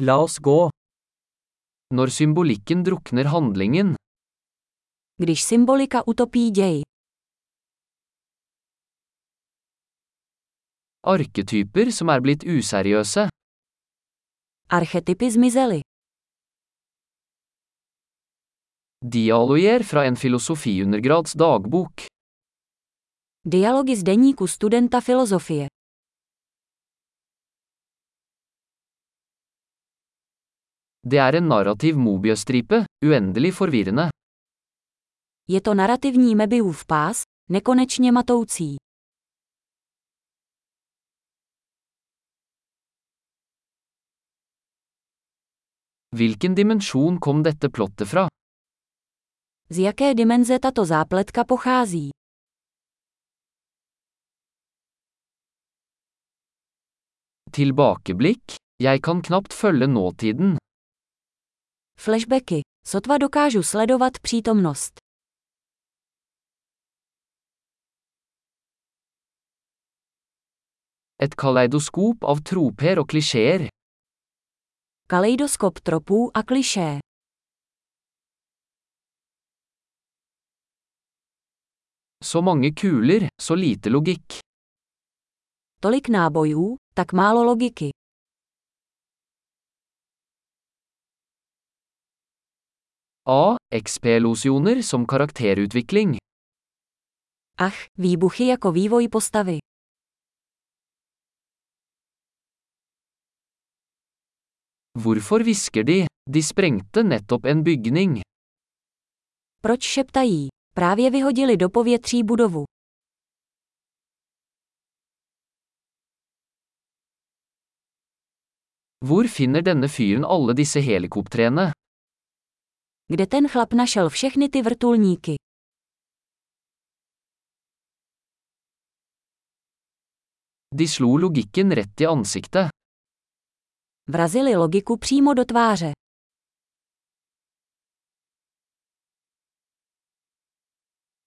La oss gå. Når symbolikken drukner handlingen, Když symbolika utopí děj, arketyper som er blitt useriøse, archetypy zmizely. dialoger fra en filosofiundergrads dagbok, Dialogy z deníku studenta filozofie. det er en narrativ mobiøstripe, uendelig forvirrende. Je to narrativní Mebiův pás, nekonečně matoucí. Hvilken dimensjon kom dette plottet fra? Z jaké dimenze tato zápletka pochází? Tilbakeblikk? Jeg kan knapt følge nåtiden. Flashbacky. Sotva dokážu sledovat přítomnost. Et kaleidoskop av troper og klisjeer. Kaleidoskop tropů a klišé. Så mange kuler, så lite logikk. Tolik nábojů, tak málo logiky. A. XP-losjoner som karakterutvikling. Ach, výbuchy jako vývoj postavy. Hvorfor hvisker de? De sprengte nettopp en bygning. Proč šeptají? Právě vyhodili do povětří budovu. Hvor finner denne fyren alle disse helikoptrene? Kde ten chlap našel všechny ty vrtulníky? De slo logikken rett i ansiktet. Vrazili logiku přímo do tváře.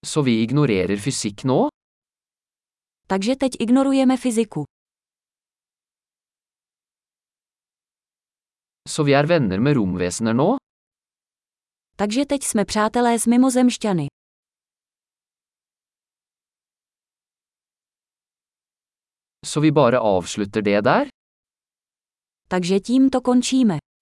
Så vi ignorerer fysikk nå? Takže teď ignorujeme fyziku. Så vi er venner med romvesener nå? Takže teď jsme přátelé s mimozemšťany. Så vi bare avslutter det der? Takže tím to končíme.